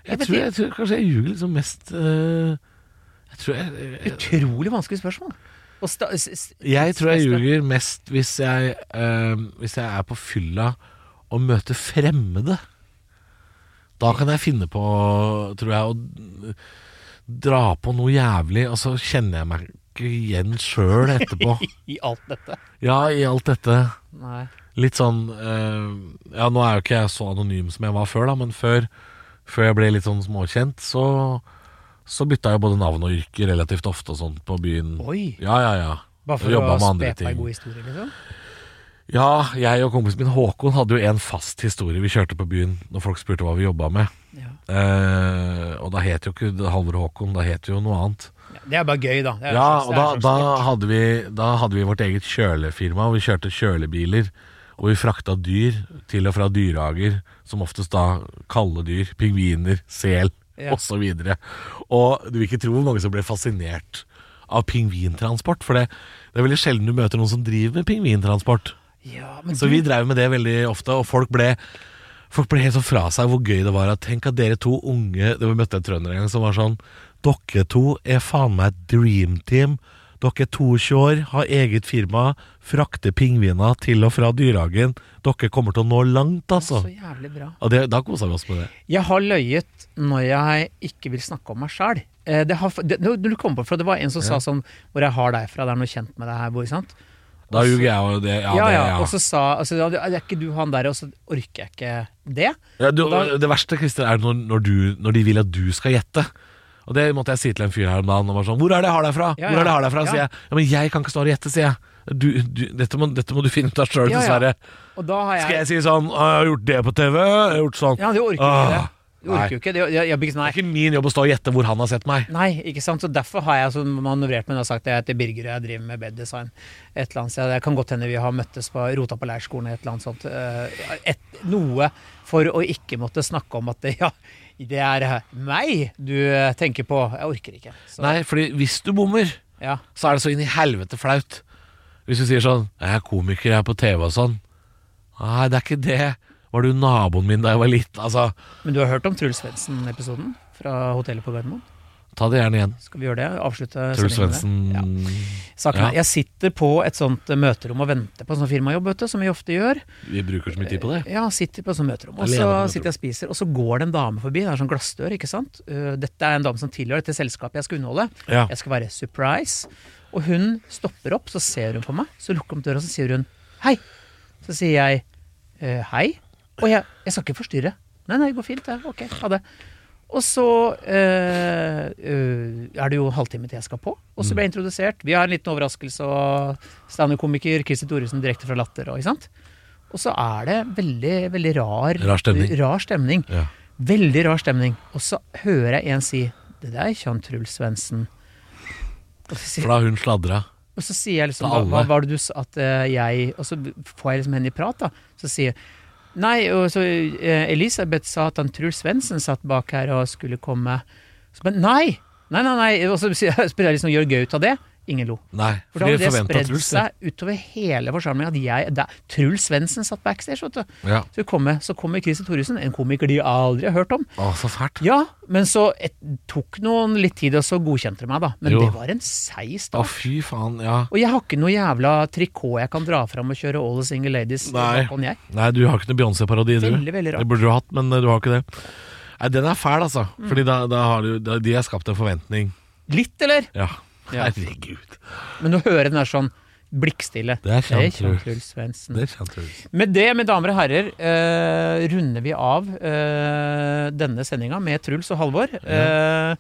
B: Jeg
C: Jeg,
B: vet
C: tror,
B: ikke.
C: jeg tror kanskje jeg ljuger liksom mest eh, Jeg tror jeg, jeg
B: Utrolig vanskelig spørsmål. Og sta, s, s,
C: Jeg tror jeg
B: Beste.
C: ljuger mest hvis jeg, eh, hvis jeg er på fylla og møter fremmede. Da kan jeg finne på, tror jeg, å dra på noe jævlig, og så kjenner jeg meg ikke igjen sjøl etterpå.
B: I alt dette.
C: Ja, i alt dette.
B: Nei.
C: Litt sånn eh, Ja, nå er jo ikke jeg så anonym som jeg var før, da, men før, før jeg ble litt sånn småkjent, så, så bytta jeg både navn og yrke relativt ofte og sånt på byen.
B: Oi.
C: Ja, ja, ja.
B: Bare for
C: Jobba
B: å
C: med
B: spe
C: andre
B: på ei
C: ting.
B: god historie, liksom?
C: Ja, jeg og kompisen min Håkon hadde jo en fast historie vi kjørte på byen når folk spurte hva vi jobba med.
B: Ja.
C: Eh, og da het jo ikke Halvor Håkon, da het jo noe annet.
B: Ja, Det er bare gøy, da. Det er
C: Ja,
B: en slags-
C: og
B: det er
C: da,
B: en slags
C: da,
B: sport.
C: hadde vi, da hadde vi vårt eget kjølefirma, og vi kjørte kjølebiler. Og vi frakta dyr til og fra dyrehager, som oftest da kalde dyr. Pingviner, sel
B: Ja.
C: osv. videre og du vil ikke tro hvor mange som ble fascinert av pingvintransport. For det, det er veldig sjelden du møter noen som driver med pingvintransport.
B: ja, men
C: Så
B: du,
C: vi drev med det veldig ofte, og folk ble Folk ble helt sånn fra seg hvor gøy det var at Tenk at dere to unge Det var møtte en trønder en gang som var sånn Dere to er faen meg et dream team Dere er 22 år, har eget firma Frakter pingviner til og fra dyrehagen Dere kommer til å nå langt altså
B: Så jævlig bra.
C: Og det, da koset vi oss med det
B: Jeg har løyet når jeg ikke vil snakke om meg sjæl. Det, har- det, når du kom på, for det var en som sa sånn Hvor jeg har deg fra, det er noe kjent med deg her, hvor, ikke sant?
C: Da ljuger jeg og det Ja,
B: Ja,
C: det,
B: ja.
C: ja.
B: Og så sa altså, ja, du- Er ikke du han der, og så orker jeg ikke det?
C: Ja, du,
B: da-
C: det verste Christer, er når, når, du, når de vil at du skal gjette. Og det måtte jeg si til en fyr her om dagen. Han var sånn, 'Hvor er det jeg har deg fra?'
B: Ja,
C: Hvor er det
B: ja.
C: jeg har deg fra?
B: Ja.
C: sier jeg. Ja, 'Men jeg kan ikke stå her og gjette', sier jeg. du, du, dette, må, dette må du finne ut av sjøl,
B: Ja, ja.
C: dessverre.
B: Og da har jeg
C: Skal jeg si sånn «Å, 'Jeg har gjort det på TV', 'Jeg har gjort sånn'.
B: Ja, du orker jo
C: Åh,
B: ikke det. Du
C: nei.
B: orker jo ikke det. Jeg, jeg, jeg,
C: Det
B: nei.
C: er ikke min jobb å stå og gjette hvor han har sett meg.
B: Nei, ikke sant. Så derfor har jeg altså manøvrert meg og sagt at jeg heter Birger og jeg driver med beddesign et eller annet sted. Det kan godt hende vi har møttes på rota på leirskolen et eller annet sånt. Eh, Et, noe for å ikke måtte snakke om at det, (laughs) ja, det er eh, meg du eh, tenker på. Jeg orker ikke. Så,
C: Nei, fordi hvis du bommer,
B: ja.
C: så er det så inn i helvete flaut. Hvis du sier sånn 'Jeg er komiker, jeg er på TV' og sånn. Nei, det er ikke det. Var du naboen min da jeg var liten? Altså,
B: Men du har hørt om Truls Svendsen-episoden fra hotellet på Gardermoen?
C: ta det gjerne igjen.
B: Skal vi gjøre det? Avslutte
C: Truls
B: sendingen med det?
C: Svendsen.
B: Ja. Saken
C: Ja.
B: er, Jeg sitter på et sånt eh, møterom og venter på en sånn firmajobb, vet du, som vi ofte gjør.
C: Vi bruker så mye tid på det.
B: Ja, sitter på et sånt møterom, og
C: Alene
B: så
C: på møterom.
B: sitter jeg og spiser, og så går det en dame forbi, det er en sånn glassdør, ikke sant. Eh, Dette er en dame som tilhører dette selskapet jeg skal underholde.
C: Ja.
B: Jeg skal være surprise. Og hun stopper opp, så ser hun på meg, så lukker hun opp døra, så sier hun hei. Så sier jeg eh, hei. Og jeg, jeg skal ikke forstyrre. Nei, nei, det går fint, det. Ok, ha det. Og så eh, eh, er det jo halvtime til jeg skal på. Og så ble
C: Mm.
B: jeg introdusert. Vi har en liten overraskelse, og standup-komiker Christer Thoresen direkte fra Latter. Og, ikke sant? og så er det veldig, veldig rar,
C: Rar stemning.
B: rar stemning.
C: Ja.
B: Veldig rar stemning. Og så hører jeg en si 'Det der er ikke han Truls Svendsen'. Og så sier
C: For da har hun sladra.
B: og så sier jeg liksom
C: Til
B: hva,
C: alle.
B: hva var det du sa at eh, jeg Og så får jeg liksom henne i prat, da. Så sier jeg Nei, og så eh, Elisabeth sa at han Truls Svendsen satt bak her og skulle komme. Så bare Nei! Nei, nei, nei. Og så sier jeg- (laughs) spør jeg liksom gjør gøy ut av det. Ingen lo.
C: Nei,
B: For da
C: fordi
B: hadde det
C: forventa
B: spredd
C: Truls. det.
B: seg utover hele forsamlingen at jeg da, Truls Svendsen satt backstage, vet du.
C: Ja.
B: Så kommer, så kommer Christer Thoresen, en komiker de aldri har hørt om.
C: Å, så fælt.
B: Ja, men så et, tok noen litt tid, og så godkjente de meg, da. Men
C: Jo.
B: det var en seig
C: Å,
B: start.
C: fy faen. Ja.
B: Og jeg har ikke noe jævla trikot jeg kan dra fram og kjøre All the Single Ladies.
C: Nei.
B: Kan jeg.
C: Nei, du har ikke noe Beyoncé-parodi, du.
B: Veldig, veldig rart.
C: Det burde du hatt, men eh, du har ikke det. Nei, Den er fæl, altså.
B: Mm.
C: Fordi da, da har du, da, de har skapt en forventning.
B: Litt, eller?
C: Ja.
B: Ja.
C: Herregud.
B: Men å høre den der sånn blikkstille
C: Det er
B: Kjell
C: sant, Truls.
B: Truls Svendsen.
C: Det kjente Truls.
B: Med det, mine damer og herrer, eh, runder vi av eh, denne sendinga med Truls og Halvor. Eh,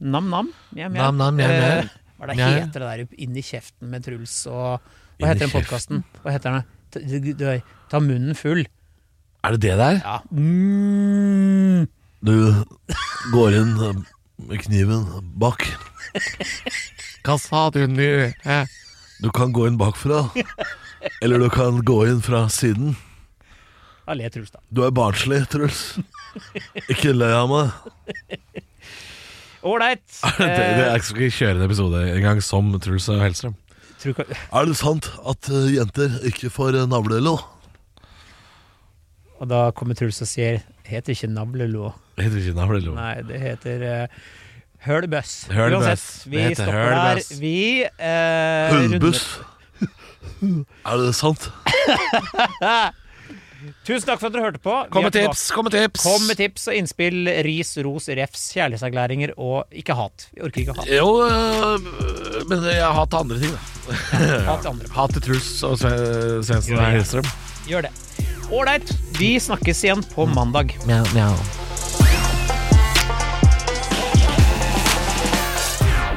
B: Nam-nam. Mjau, mjau.
C: Nam, nam, mjau, mjau.
B: Eh, Hva er det
C: Mjau.
B: heter det der inn i kjeften med Truls og
C: Inn i
B: Hva heter den
C: kjeften.
B: podkasten? Hva heter den? Ta- du- du- Ta munnen full.
C: Er det det der? (laughs)
B: Ja. Mm.
C: Du går inn eh, med kniven bak. Hva sa du nå? Du kan gå inn bakfra.
B: (laughs)
C: Eller du kan gå inn fra siden.
B: Da ler Truls, da.
C: Du er barnslig, Truls. Ikke le av meg.
B: Ålreit.
C: (laughs) Det, det, jeg skal ikke kjøre en episode engang som Truls og Hellstrøm.
B: Eh, Tror ikke-
C: Er det sant at eh, jenter ikke får eh, navlelo?
B: Og da kommer Truls og sier heter ikke navlelo.
C: Det heter ikke navlelo.
B: Nei, det heter eh, hølbøss.
C: Hølbøss.
B: Uansett,
C: Det
B: vi
C: heter
B: stopper
C: hølbøss.
B: der. Vi eh,
C: Hundbuss. Er det sant?
B: runder- Tusen takk for at dere hørte på. Vi
C: Kom
B: er
C: med tips! Kom med tips!
B: tilbake. Kom med tips og innspill. Ris, ros, refs, kjærlighetserklæringer og ikke hat. Vi orker ikke hat.
C: Jo, øh, men jeg har hatt andre ting, da.
B: Hat til andre.
C: Hat til Truls og Sve- Svendsen og Hellstrøm.
B: Gjør det. Ålreit. Vi snakkes igjen på mandag.